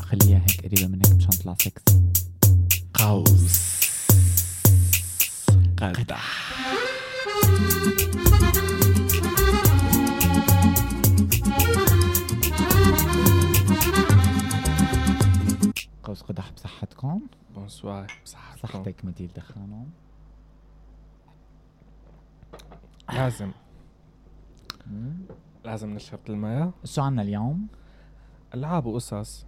خليها هيك قريبة منك مشان تطلع سكسي قوس قدح قوس قدح بصحتكم بونسوار بصحتكم صحتك مديل خانم لازم لازم نشرب الماء شو عنا اليوم؟ العاب وقصص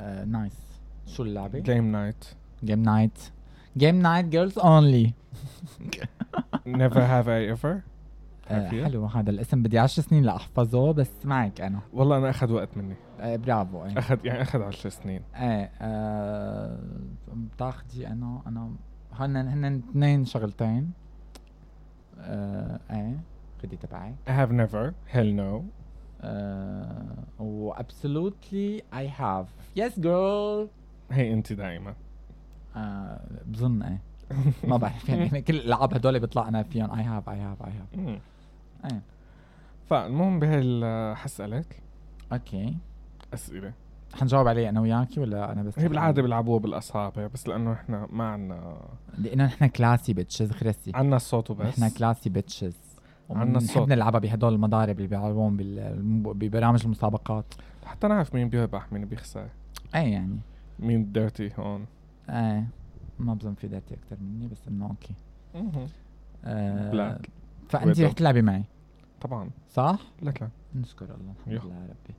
آه، نايس شو اللعبة؟ جيم نايت جيم نايت جيم نايت جيرلز اونلي نيفر هاف اي ايفر آه، حلو هذا الاسم بدي 10 سنين لاحفظه بس معك انا والله انا اخذ وقت مني آه، برافو ايه اخذ يعني اخذ 10 سنين ايه آه، بتاخدي انا انا هن هن اثنين شغلتين آه، ايه خدي تبعي I have never hell no آه، و absolutely I have yes girl هي انت دائما آه، بظن ايه ما بعرف يعني أنا كل الالعاب هدول بيطلع انا فيهم I have I have I have ايه فالمهم بهي ال- حسألك اوكي اسئله حنجاوب عليه انا وياكي ولا انا بس هي بالعاده بيلعبوها بالاصابع بس لانه احنا ما عنا لانه نحن كلاسي بيتشز خرسي عنا الصوت وبس نحن كلاسي بيتشز عنا الصوت. بنحب نلعبها بهدول المضارب اللي بيلعبوهم بال- ببرامج المسابقات حتى نعرف مين بيربح مين بيخسر ايه يعني مين الديرتي هون ايه ما بظن في داتي اكثر مني بس انه اوكي مهم. آه Black فانت رح Widow. تلعبي معي طبعا صح؟ لك لا نشكر الله الحمد يو. لله يا ربي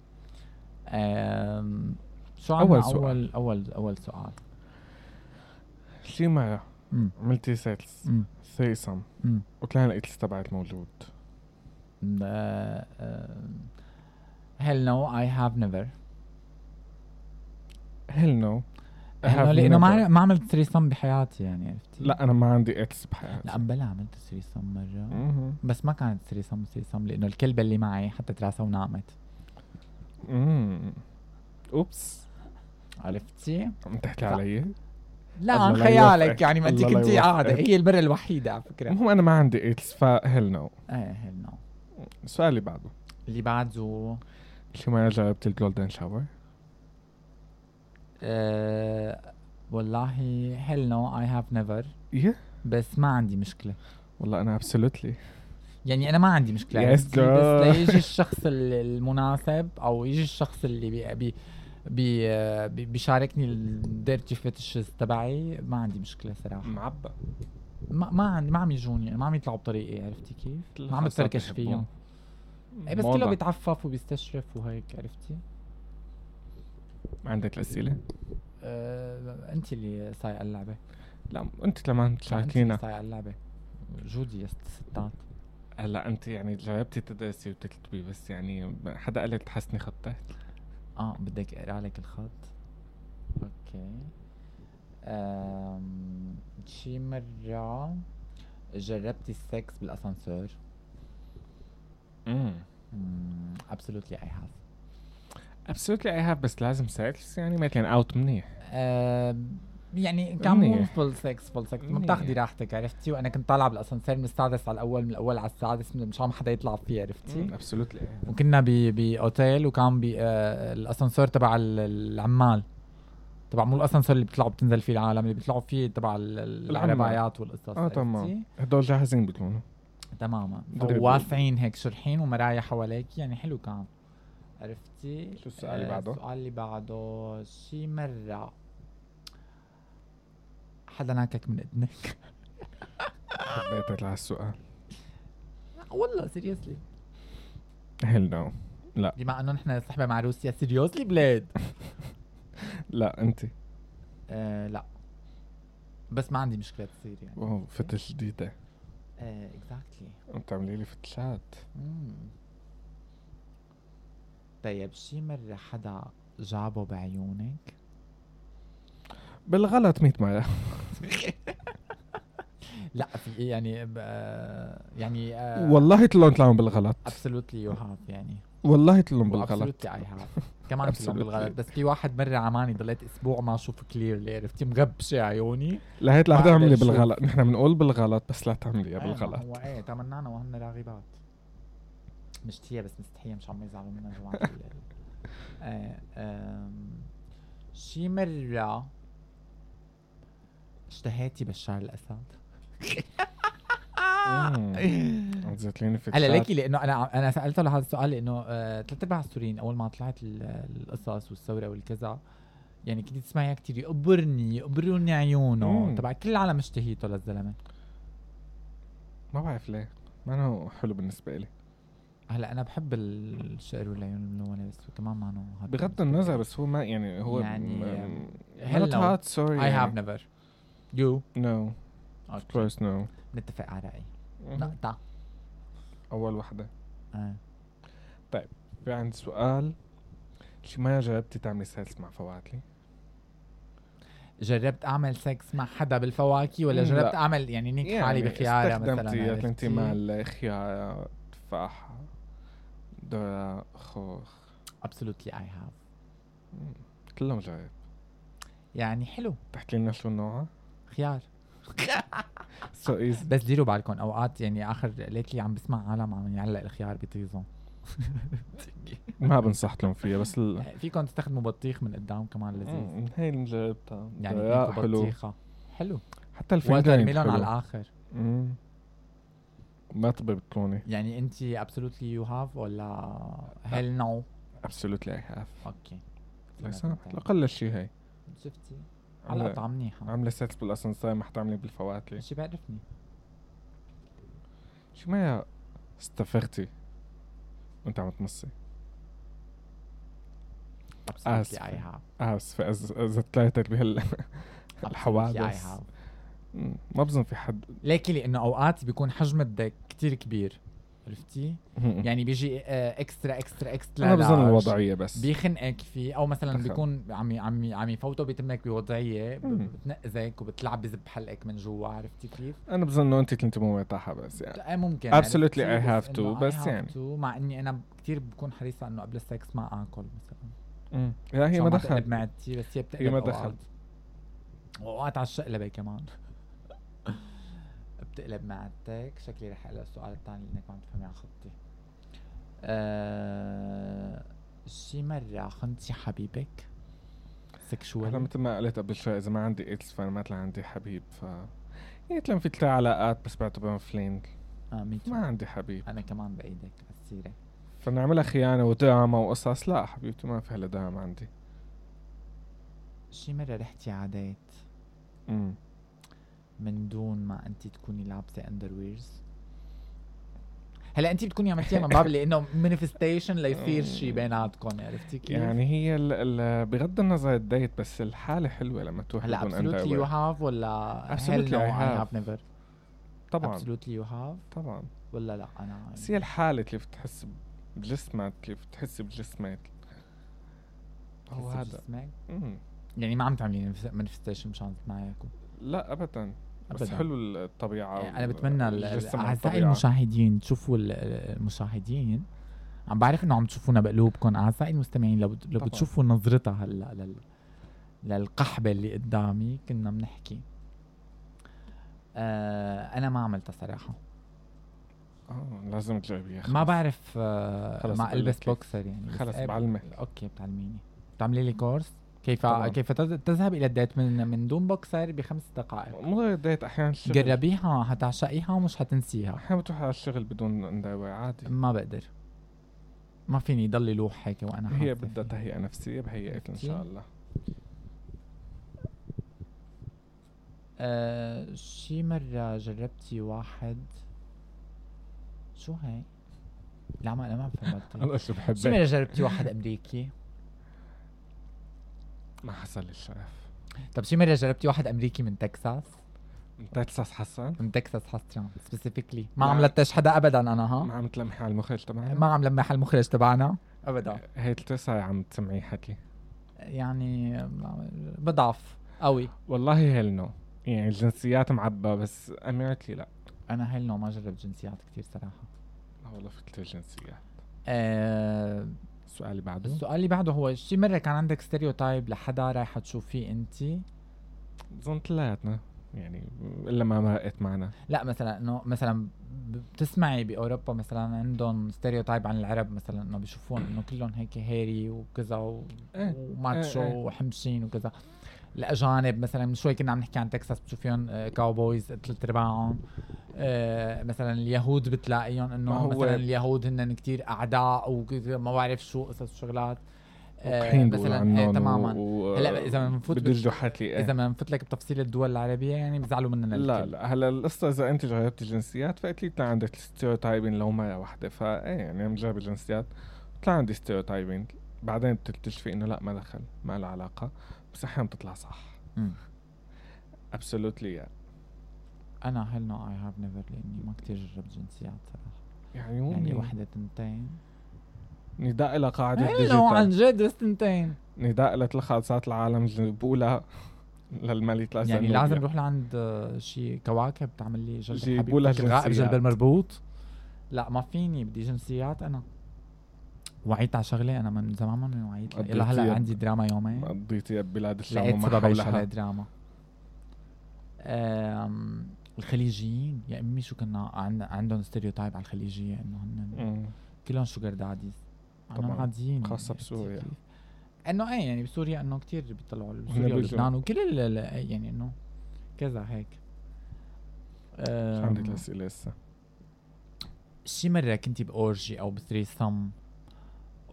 آم، شو أول عندنا سؤال. اول اول اول سؤال شي مرة مم. عملتي سيلز مم. ثريسم مم. وطلع الاتلس تبعت موجود آه، هل نو اي هاف نيفر هل نو لانه ما ما عملت ثريسم بحياتي يعني عرفتي؟ لا انا ما عندي اتلس لا بحياتي بلا عملت ثريسم مره مهم. بس ما كانت ثريسم ثريسم لانه الكلبه اللي معي حطت راسها ونامت مم. اوبس عرفتي؟ عم تحكي ف- علي لا الله عن لا خيالك يوفقك. يعني ما انت الله لا كنتي قاعده يوفقك. هي المره الوحيده على فكره المهم انا ما عندي اتلس فهل نو ايه هيل نو السؤال اللي بعده اللي بعده شي مرة جربت الجولدن شاور آه والله هيل نو اي هاف نيفر يه بس ما عندي مشكله إيه؟ والله انا ابسولوتلي يعني انا ما عندي مشكله Yes, عرفتي؟ girl. بس ليجي الشخص ال- المناسب او يجي الشخص اللي بي بي بي آه، بي- بيشاركني الديرتي فيتشز تبعي ما عندي مشكله صراحه معبى ما ما عندي ما عم يجوني يعني ما عم يطلعوا بطريقي عرفتي كيف؟ ما عم بتفركش فيهم إيه بس كله بيتعفف وبيستشرف وهيك عرفتي؟ عندك الاسئله؟ آه، انت اللي سايقه اللعبه لا انت لما انت اللي تشاركينا سايقه اللعبه جودي يا ست ستات هلا انت يعني جربتي تدرسي وتكتبي بس يعني حدا قال لك تحسني خطك اه بدك اقرا لك الخط اوكي أم... شي مرة جربتي السكس بالاسانسير امم ابسولوتلي اي هاف ابسولوتلي اي هاف بس لازم سيلز يعني ما كان اوت منيح آه، يعني كان مو منيح. فول سكس فول سكس ما منيح. بتاخدي راحتك عرفتي وانا كنت طالعه بالاسانسير من السادس على الاول من الاول على السادس من- مشان ما حدا يطلع فيه عرفتي إيه. ابسولوتلي وكنا ب- باوتيل وكان ب آه، الاسانسور تبع ال- العمال تبع مو الاسانسور اللي بيطلعوا بتنزل فيه العالم اللي بيطلعوا فيه تبع ال- ال- العمال. العربايات والقصص اه تمام عرفتي؟ هدول جاهزين بيكونوا تماما دربوا. وواسعين هيك شرحين ومرايا حواليك يعني حلو كان عرفتي شو السؤال اللي آه، بعده؟ السؤال اللي بعده شي مرة حدا ناكك من اذنك حبيت اطلع السؤال والله سيريسلي هل نو بما انه نحن صحبه مع روسيا سيريسلي بلاد لا انت آه لا بس ما عندي مشكله تصير يعني واو فتش جديده ايه اكزاكتلي عم تعملي لي فتشات طيب شي مرة حدا جابه بعيونك؟ بالغلط 100 مره لا في إيه يعني ب- آه، يعني والله كلهم طلعوا بالغلط ابسولوتلي يو هاف يعني والله كلهم بالغلط ابسولوتلي اي هاف كمان كلهم Absolutely. بالغلط بس في واحد مرة عماني ضليت اسبوع ما اشوف كليرلي عرفتي مغبشة عيوني لهيت لا ما أقدر تعملي أشوف. بالغلط نحن بنقول بالغلط بس لا تعمليها إيه، ما هو بالغلط ايه تمنعنا وهن راغبات مشتية بس مستحية مش عم يزعلوا منا جماعة ال- ايه أم، آه، شي مرة اشتهيتي بشار الأسد آه. زتليني في هلا الشات. ليكي لانه انا انا سالته لهذا السؤال لانه آه، ثلاث ارباع السوريين اول ما طلعت ال- القصص والثوره والكذا يعني كنت تسمعيها كثير يقبرني يقبروني عيونه مم. تبع كل العالم اشتهيته للزلمه ما بعرف ليه ما انا هو حلو بالنسبه لي هلا انا بحب ال- الشعر والعيون الملونه بس كمان ما نو بغض النظر بس هو ما يعني هو يعني، هلا hello. هات سوري اي هاف نيفر يو نو اوف كورس نو نتفق على رايي نقطع اول وحده آه. في عندي سؤال شي ما جربتي تعملي سيلز مع فواتلي؟ جربت اعمل سكس مع حدا بالفواكه ولا مم، لا. جربت اعمل يعني نيك حالي بخياره مثلا استخدمتي عرفتي؟ تلنتي مع الخيارة تفاحة ذرة خوخ absolutely I have مم. كلهم جرب يعني حلو تحكي لنا شو نوعها؟ خيار سو ايزي بس ديروا بالكم اوقات يعني اخر ليتلي عم بسمع عالم عم يعلق الخيار بطيزهم ما بنصحت لهم فيها بس ال... فيكم تستخدموا بطيخ من قدام كمان لذيذ مم. هي اللي جربتها يعني ذرة تاكلوا حلو بطيخه حلو حتى ووتر الفنجان ميلون حلو على الاخر مم. ما طببتوني يعني انت ابسولوتلي يو هاف ولا هل نو ابسولوتلي اي هاف اوكي ليس اقل شيء هي شفتي على عاملة- قطعه منيحه عامله سيلز بالاسانسير ما حتعملي بالفواتلي شي بعرفني شو ما استفرتي وانت عم تمصي absolutely آسف. I have اسف زتلاتك بهال I الحوادث have مم. ما بظن في حد ليكي لانه اوقات بيكون حجم الدك كتير كبير عرفتي؟ يعني بيجي آه، اكسترا اكسترا اكسترا انا بظن لارج. الوضعيه بس بيخنقك فيه او مثلا تخ- بيكون عم عم عم يفوتوا بيتمك بوضعيه ب- مم. بتنقذك وبتلعب بزب حلقك من جوا عرفتي كيف؟ انا بظن انه انت كنت مو مرتاحه بس يعني ايه ممكن Absolutely عرفتي؟ بس I have to، إنه I بس have يعني. to، مع اني انا كثير بكون حريصه انه قبل السكس ما اكل مثلا مم. لا هي عشان ما تقلب دخل معدتي بس هي بتقلب هي ما أوقات. دخل. واوقات على الشقلبه كمان بتقلب معدتك شكلي رح اقلق السؤال الثاني لانك ما عم تفهمي على خطي أه... شي مرة خنتي حبيبك انا سكشوال مثل ما قلت قبل شوي اذا ما عندي ايدز فانا ما طلع عندي حبيب ف يعني كان في ثلاث علاقات بس بعتبرهم فلينج اه me too. ما عندي حبيب انا كمان بايدك على السيرة فنعملها خيانه ودراما وقصص لا حبيبتي ما في هلا دراما عندي شي مرة رحتي على ديت مم. من دون ما انت تكوني لابسة اندرويرز هلا انت بتكوني عملتيها من باب لانه مانيفستيشن ليصير شي بيناتكم عرفتي كيف؟ يعني هي ال ال بغض النظر الديت بس الحاله حلوه لما تروح هلا بدون absolutely underwear. you have ولا Absolutely hell no, I I have. have never طبعا absolutely you have طبعا ولا لا انا بس هي الحالة كيف تحس بجسمك كيف تحس بجسمك هو بحس هذا بجسمك. مم. يعني ما عم تعملي مانيفستيشن مشان تنعيكم لا ابدا بس أبداً. حلو الطبيعة يعني انا وال- بتمنى ال- الجسم اعزائي والطبيعة. المشاهدين تشوفوا ال- المشاهدين عم بعرف انه عم تشوفونا بقلوبكم اعزائي المستمعين لو بت- لو طبعاً. بتشوفوا نظرتها هلا لل للقحبه اللي قدامي كنا بنحكي آه انا ما عملتها صراحه آه، لازم تجربيها ما خلص. بعرف آه خلص ما بقول البس لك كيف. بوكسر يعني بس خلص إيه، بعلمك اوكي بتعلميني بتعملي لي كورس كيف طبعاً. كيف تذ- تذهب الى الديت من من دون بوكسر بخمس دقائق مو غير ديت احيانا الشغل جربيها حتعشقيها ومش حتنسيها احيانا بتروح على الشغل بدون انداوي عادي ما بقدر ما فيني ضل لوح هيك وانا هي حاسة بدها فيه. تهيئة نفسية بهيئك ان شاء عرفتي؟ الله آه شي مره جربتي واحد شو هي؟ لا ما انا ما فهمت الله شي شو مره بحبك جربتي واحد امريكي ما حصل الشرف طب شي مره جربتي واحد امريكي من تكساس انت تساس حسن من تكساس حصرا سبيسيفيكلي ما نعم. عملتش حدا ابدا انا ها ما عم تلمحي على المخرج تبعنا آه. آه، ما عم لمح المخرج تبعنا ابدا هي التسعة عم تسمعي حكي يعني بضعف قوي والله هيل نو يعني الجنسيات معبى بس امريكي لا انا هل نوع ما جربت جنسيات كتير صراحه لا والله في كثير جنسيات أه السؤال اللي بعده السؤال اللي بعده هو شي مره كان عندك ستيريو تايب لحدا رايحه تشوفيه انت بظن ثلاثنا يعني الا ما مرقت معنا لا مثلا انه مثلا ب- بتسمعي باوروبا مثلا عندهم ستيريوتايب عن العرب مثلا انه بيشوفون انه كلهم هيك هيري وكذا و... إيه، وماتشو إيه، إيه. وحمشين وكذا الاجانب مثلا من شوي كنا عم نحكي عن تكساس بتشوفيهم آه، كاوبويز ثلاث ارباعهم آه، مثلا اليهود بتلاقيهم ما انه هو- مثلا اليهود هن كتير اعداء وما بعرف شو قصص وشغلات آه، وقحين مثلا بيقولوا آه، عنهم تماما و... هلا إذا بنفوت بال- بدجوا حاتلي اذا ما نفوت لك بتفصيل الدول العربيه يعني بزعلوا مننا إيه. لا الكل. لا هلا القصه اذا انت جربت الجنسيات فاكيد طلع عندك ستيreotyping لو ما وحده فايه يعني عم جرب الجنسيات طلع عندي stereotyping بعدين بتكتشفي انه لا ما دخل ما له علاقه بس احيانا بتطلع صح يعني. مم. ابسولوتلي انا هل نو اي هاف نيفر لاني يعني ما كتير جربت جنسيات صراحه يعني مو يعني وحده تنتين نداء الى قاعده إيه لو عن ديجيتال جد بس تنتين نداء الى خالصات العالم اللي بقولها للملك لازم يعني لازم اروح لعند آه، شي كواكب تعمل لي جلب جيبوا الحبيب لها فك الغائب جلب جنسيات. المربوط لا ما فيني بدي جنسيات انا وعيت على شغله انا من زمان ما وعيت قضيت يلا هلا يد. عندي دراما يومين قضيتي ببلاد الشام لقيت وما سبب عيش على حولها دراما آم، الخليجيين يا امي شو كنا عن- عندهم ستيريوتايب على الخليجيه انه هن مم. كلهم شوجر داديز طبعا طبعاً، عاديين خاصة يعني بسوريا. كتير كيف. انه ايه يعني بسوريا انه كتير بيطلعوا بيجوا. سوريا ولبنان وكل ال- ال- يعني انه كذا هيك شو أم، عندك اسئله لسه شي مرة كنتي بأورجي أو بثريسم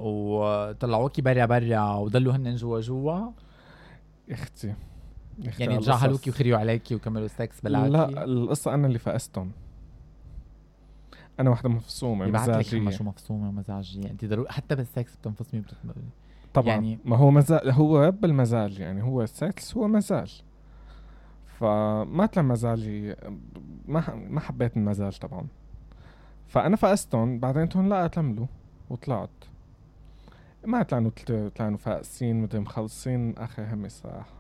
وطلعوكي برا برا وضلوا هن جوا جوا اختي اختي يعني على تجاهلوكي القصص. وخريوا عليكي وكملوا سكس بلاكي لا القصة أنا اللي فقستهم أنا وحدة مفصومة يبعت لك مزاجية حما شو مفصومة ومزاجية انت ضروري حتى بالسكس بتنفصمي وبتتمري طبعا يعني- يعني ما هو مزاج هو رب المزاج يعني هو السكس هو مزاج فما طلع مزاجي ما ح- ما حبيت المزاج طبعا فأنا فقستهم بعدين تون لا أتملوا وطلعت ما طلعوا تلت- طلعوا فاقسين مدري مخلصين آخر همي الصراحة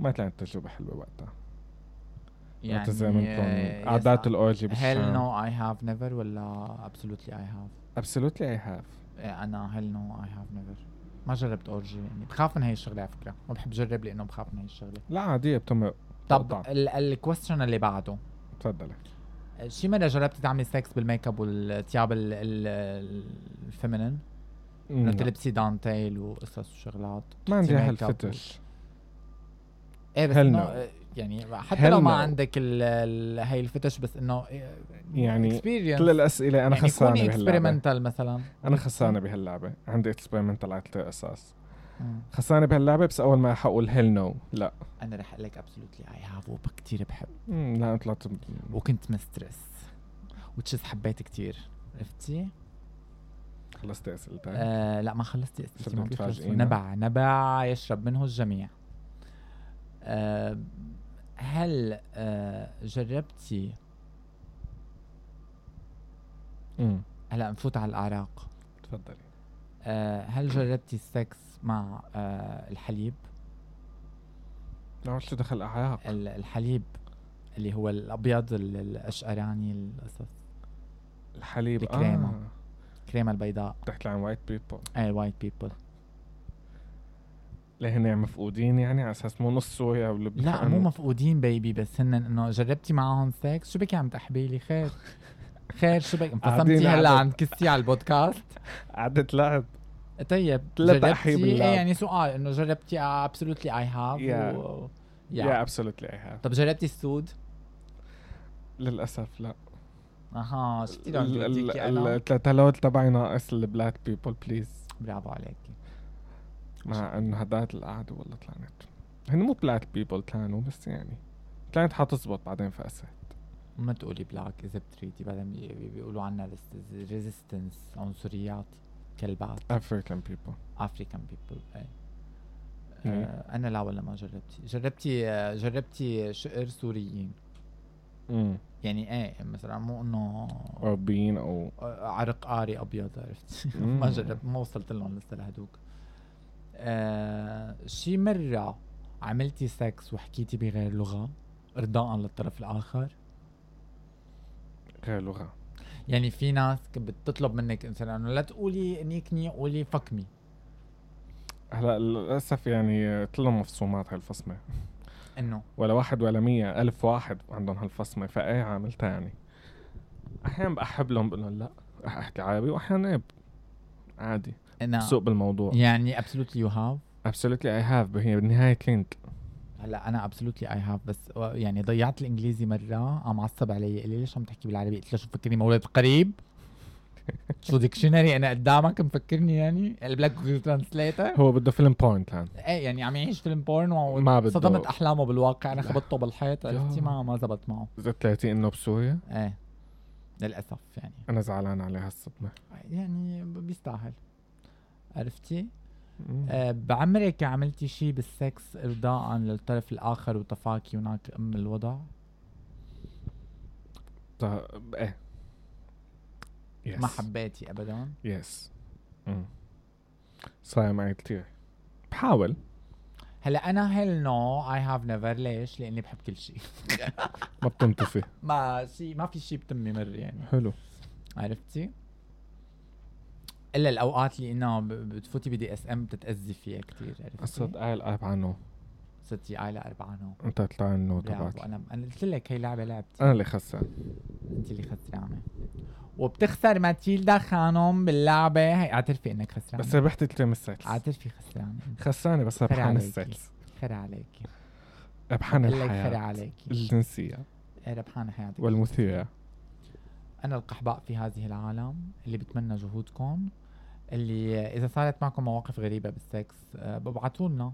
ما طلعت تجربة حلوة وقتها يعني يعني عادات الأورجي هل بالشام نو اي هاف نيفر ولا ابسولوتلي اي هاف absolutely I have إيه انا هل نو اي هاف نيفر ما جربت اورجي يعني بخاف من هي الشغله على فكره ما بحب جرب لانه بخاف من هي الشغله لا عادية بتمرق طب طبعاً. الكويستشن اللي بعده تفضلي شي مره جربتي تعملي سكس بالميك اب والثياب ال- ال- الفيمينين انه تلبسي دانتيل وقصص وشغلات ما عندي تحطي ميك اب يعني ايه هالفتش بس Hell انه no. آه، يعني حتى لو Hell ما no. عندك ال ال هي الفتش بس آه، انه يعني اكسبيرينس كل الأسئلة يعني أنا خسرانة بهاللعبة اكسبيرمنتال مثلا أنا خسرانة بهاللعبة عندي اكسبيرمنتال على ثلاث أساس مم. خسرانة بهاللعبة بس أول ما حقول هيل نو لا انا رح اقول لك ابسولوتلي اي هاف وكثير بحب مم، لا طلعت وكنت مسترس وتشز حبيت كتير عرفتي؟ خلصت أسئلتك آه لا ما خلصت اسئلتي ما بدك بيخلصوا تفاجئينا؟ نبع نبع يشرب منه الجميع آه هل آه جربتي مم، هلا نفوت على الاعراق تفضلي آه هل جربتي السكس مع آه الحليب لا شو دخل أعراق ال- الحليب اللي هو الابيض ال- الاشقراني القصص الحليب الكريمة. آه الكريمه البيضاء آه، بتحكي عن وايت بيبل اي وايت بيبل لهن مفقودين يعني على أساس مو نص سوريا ولبنان لا مو مفقودين بيبي بس هن انه جربتي معهم سكس شو بك عم تحبي لي خير خير شو بك انفصمتي قاعدين هلا على- عم تكسي على البودكاست قعدة لعب طيب لا جربتي- تأحي بالله. إيه يعني سؤال انه جربتي آه، ابسولوتلي اي هاف Yeah. يا يا absolutely I have طب جربتي السود؟ للأسف لا اها شفتي لو عم ال- ال- بديكي انا ال- التلوت تبعي ناقص البلاك بيبل بليز برافو عليكي مع انه هدات القعدة والله طلعت هن مو بلاك بيبل كانوا بس يعني كانت حتزبط بعدين فأسة ما تقولي بلاك اذا بتريدي بعدين بي- بي- بيقولوا عنا ريزيستنس عنصريات كلبات افريكان بيبل افريكان بيبل اي إيه. آه، انا لا والله ما جربتي جربتي آه، جربتي شقر سوريين يعني ايه مثلا مو انه اوروبيين او آه، عرق قاري ابيض عرفت مم. ما جربت ما وصلت لهم لسه لهدوك آه شي مره عملتي سكس وحكيتي بغير لغه ارضاء للطرف الاخر غير لغة يعني في ناس ك- بتطلب منك مثلا انه لا تقولي نيكني قولي فكمي هلا للاسف يعني طلعوا مفصومات هالفصمة انه ولا واحد ولا مية ألف واحد عندهم هالفصمة فإيه عاملتها يعني أحيانا بأحب لهم بقول لهم لا رح أحكي عربي وأحيانا إيه عادي انا بسوق بالموضوع يعني ابسولوتلي يو هاف ابسولوتلي اي هاف هي بالنهايه كلينك هلا انا ابسولوتلي اي هاف بس و- يعني ضيعت الانجليزي مره قام عصب علي قال لي ليش عم تحكي بالعربي قلت له شو مفكرني مولود قريب شو ديكشنري انا قدامك مفكرني يعني البلاك ترانسليتر هو بده فيلم بوينت لان ايه يعني عم يعيش فيلم بورن ما بده. صدمت احلامه بالواقع انا خبطته بالحيط يا. عرفتي ما ما زبط معه اذا طلعتي انه بسوريا ايه للاسف يعني انا زعلان عليها الصدمه يعني ب- بيستاهل عرفتي؟ آه، بعمرك عملتي شيء بالسكس ارضاء للطرف الاخر وتفاكي هناك ام الوضع؟ طيب ايه ما حبيتي ابدا يس صاير معي كثير بحاول هلا انا هيل نو اي هاف نيفر ليش؟ لاني بحب كل شيء ما بتنطفي ما شيء ما في شيء بتمي مر يعني حلو عرفتي؟ الا الاوقات اللي انه ب- بتفوتي بدي اس ام بتتاذي فيها كثير اصلا عرفتي؟ قايل قايل عنه ستي عائله اربعه نو انت طلع انه لعب تبعك انا انا قلت لك هي لعبه لعبتي انا اللي خسران انت اللي خسرانه وبتخسر ماتيلدا خانم باللعبه هي اعترفي انك خسرانه بس ربحت الترم السادس اعترفي خسرانه خسرانه بس فرق ربحان عليكي. السادس خرا عليكي ربحان قال لك خرا الحياه عليكي الجنسيه إيه ربحانه حياتك والمثيره انا القحباء في هذه العالم اللي بتمنى جهودكم اللي اذا صارت معكم مواقف غريبه بالسكس آه، ببعتوا لنا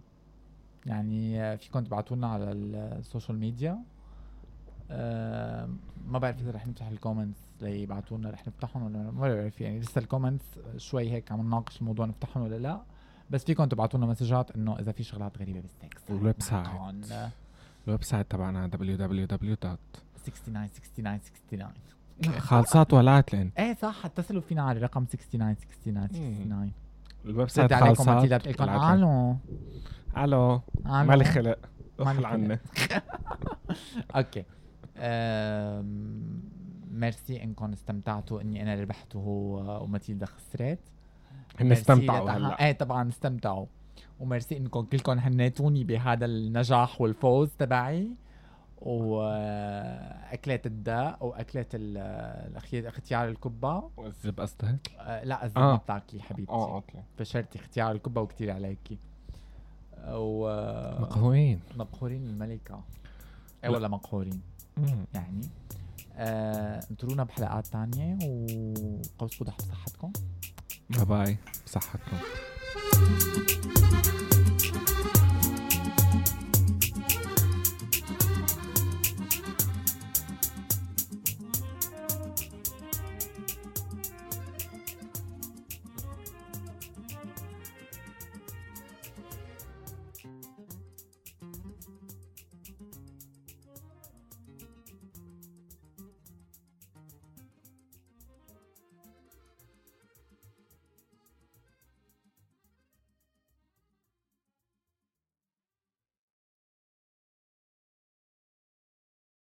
يعني آه، فيكم تبعتوا لنا على السوشيال ميديا آه، ما بعرف اذا رح نفتح الكومنتس ليبعتوا لنا رح نفتحهم ولا ما بعرف يعني لسه الكومنتس شوي هيك عم نناقش الموضوع نفتحهم ولا لا بس فيكم تبعتوا لنا مسجات انه اذا في شغلات غريبه بالسكس والويب سايت. معكن. الويب سايت تبعنا www. 69 69 69 خالصات ولعت لان ايه صح اتصلوا فينا على الرقم 69 69 69 الويب سايت سد عليكم خالصات ماتيلا بتقلكم الو الو الو مالي خلق مالي روح خلق. لعنا اوكي أم، ميرسي انكم استمتعتوا اني انا ربحت وهو وماتيلدا خسرت هن ميرسي استمتعوا لتها- هلا ايه طبعا استمتعوا وميرسي انكم كلكم هنيتوني بهذا النجاح والفوز تبعي واكلات الداء واكلات ال- الأخي- اختيار الكبه والزب قصدك؟ أه، لا الزلمه آه. بتاعك يا حبيبتي اه اوكي فشرتي اختيار الكبه وكتير عليكي و مقهوين مقهورين الملكه اي لا. ولا مقهورين يعني آه، انطرونا بحلقات تانية وقوس قدح بصحتكم باي باي بصحتكم Thank you.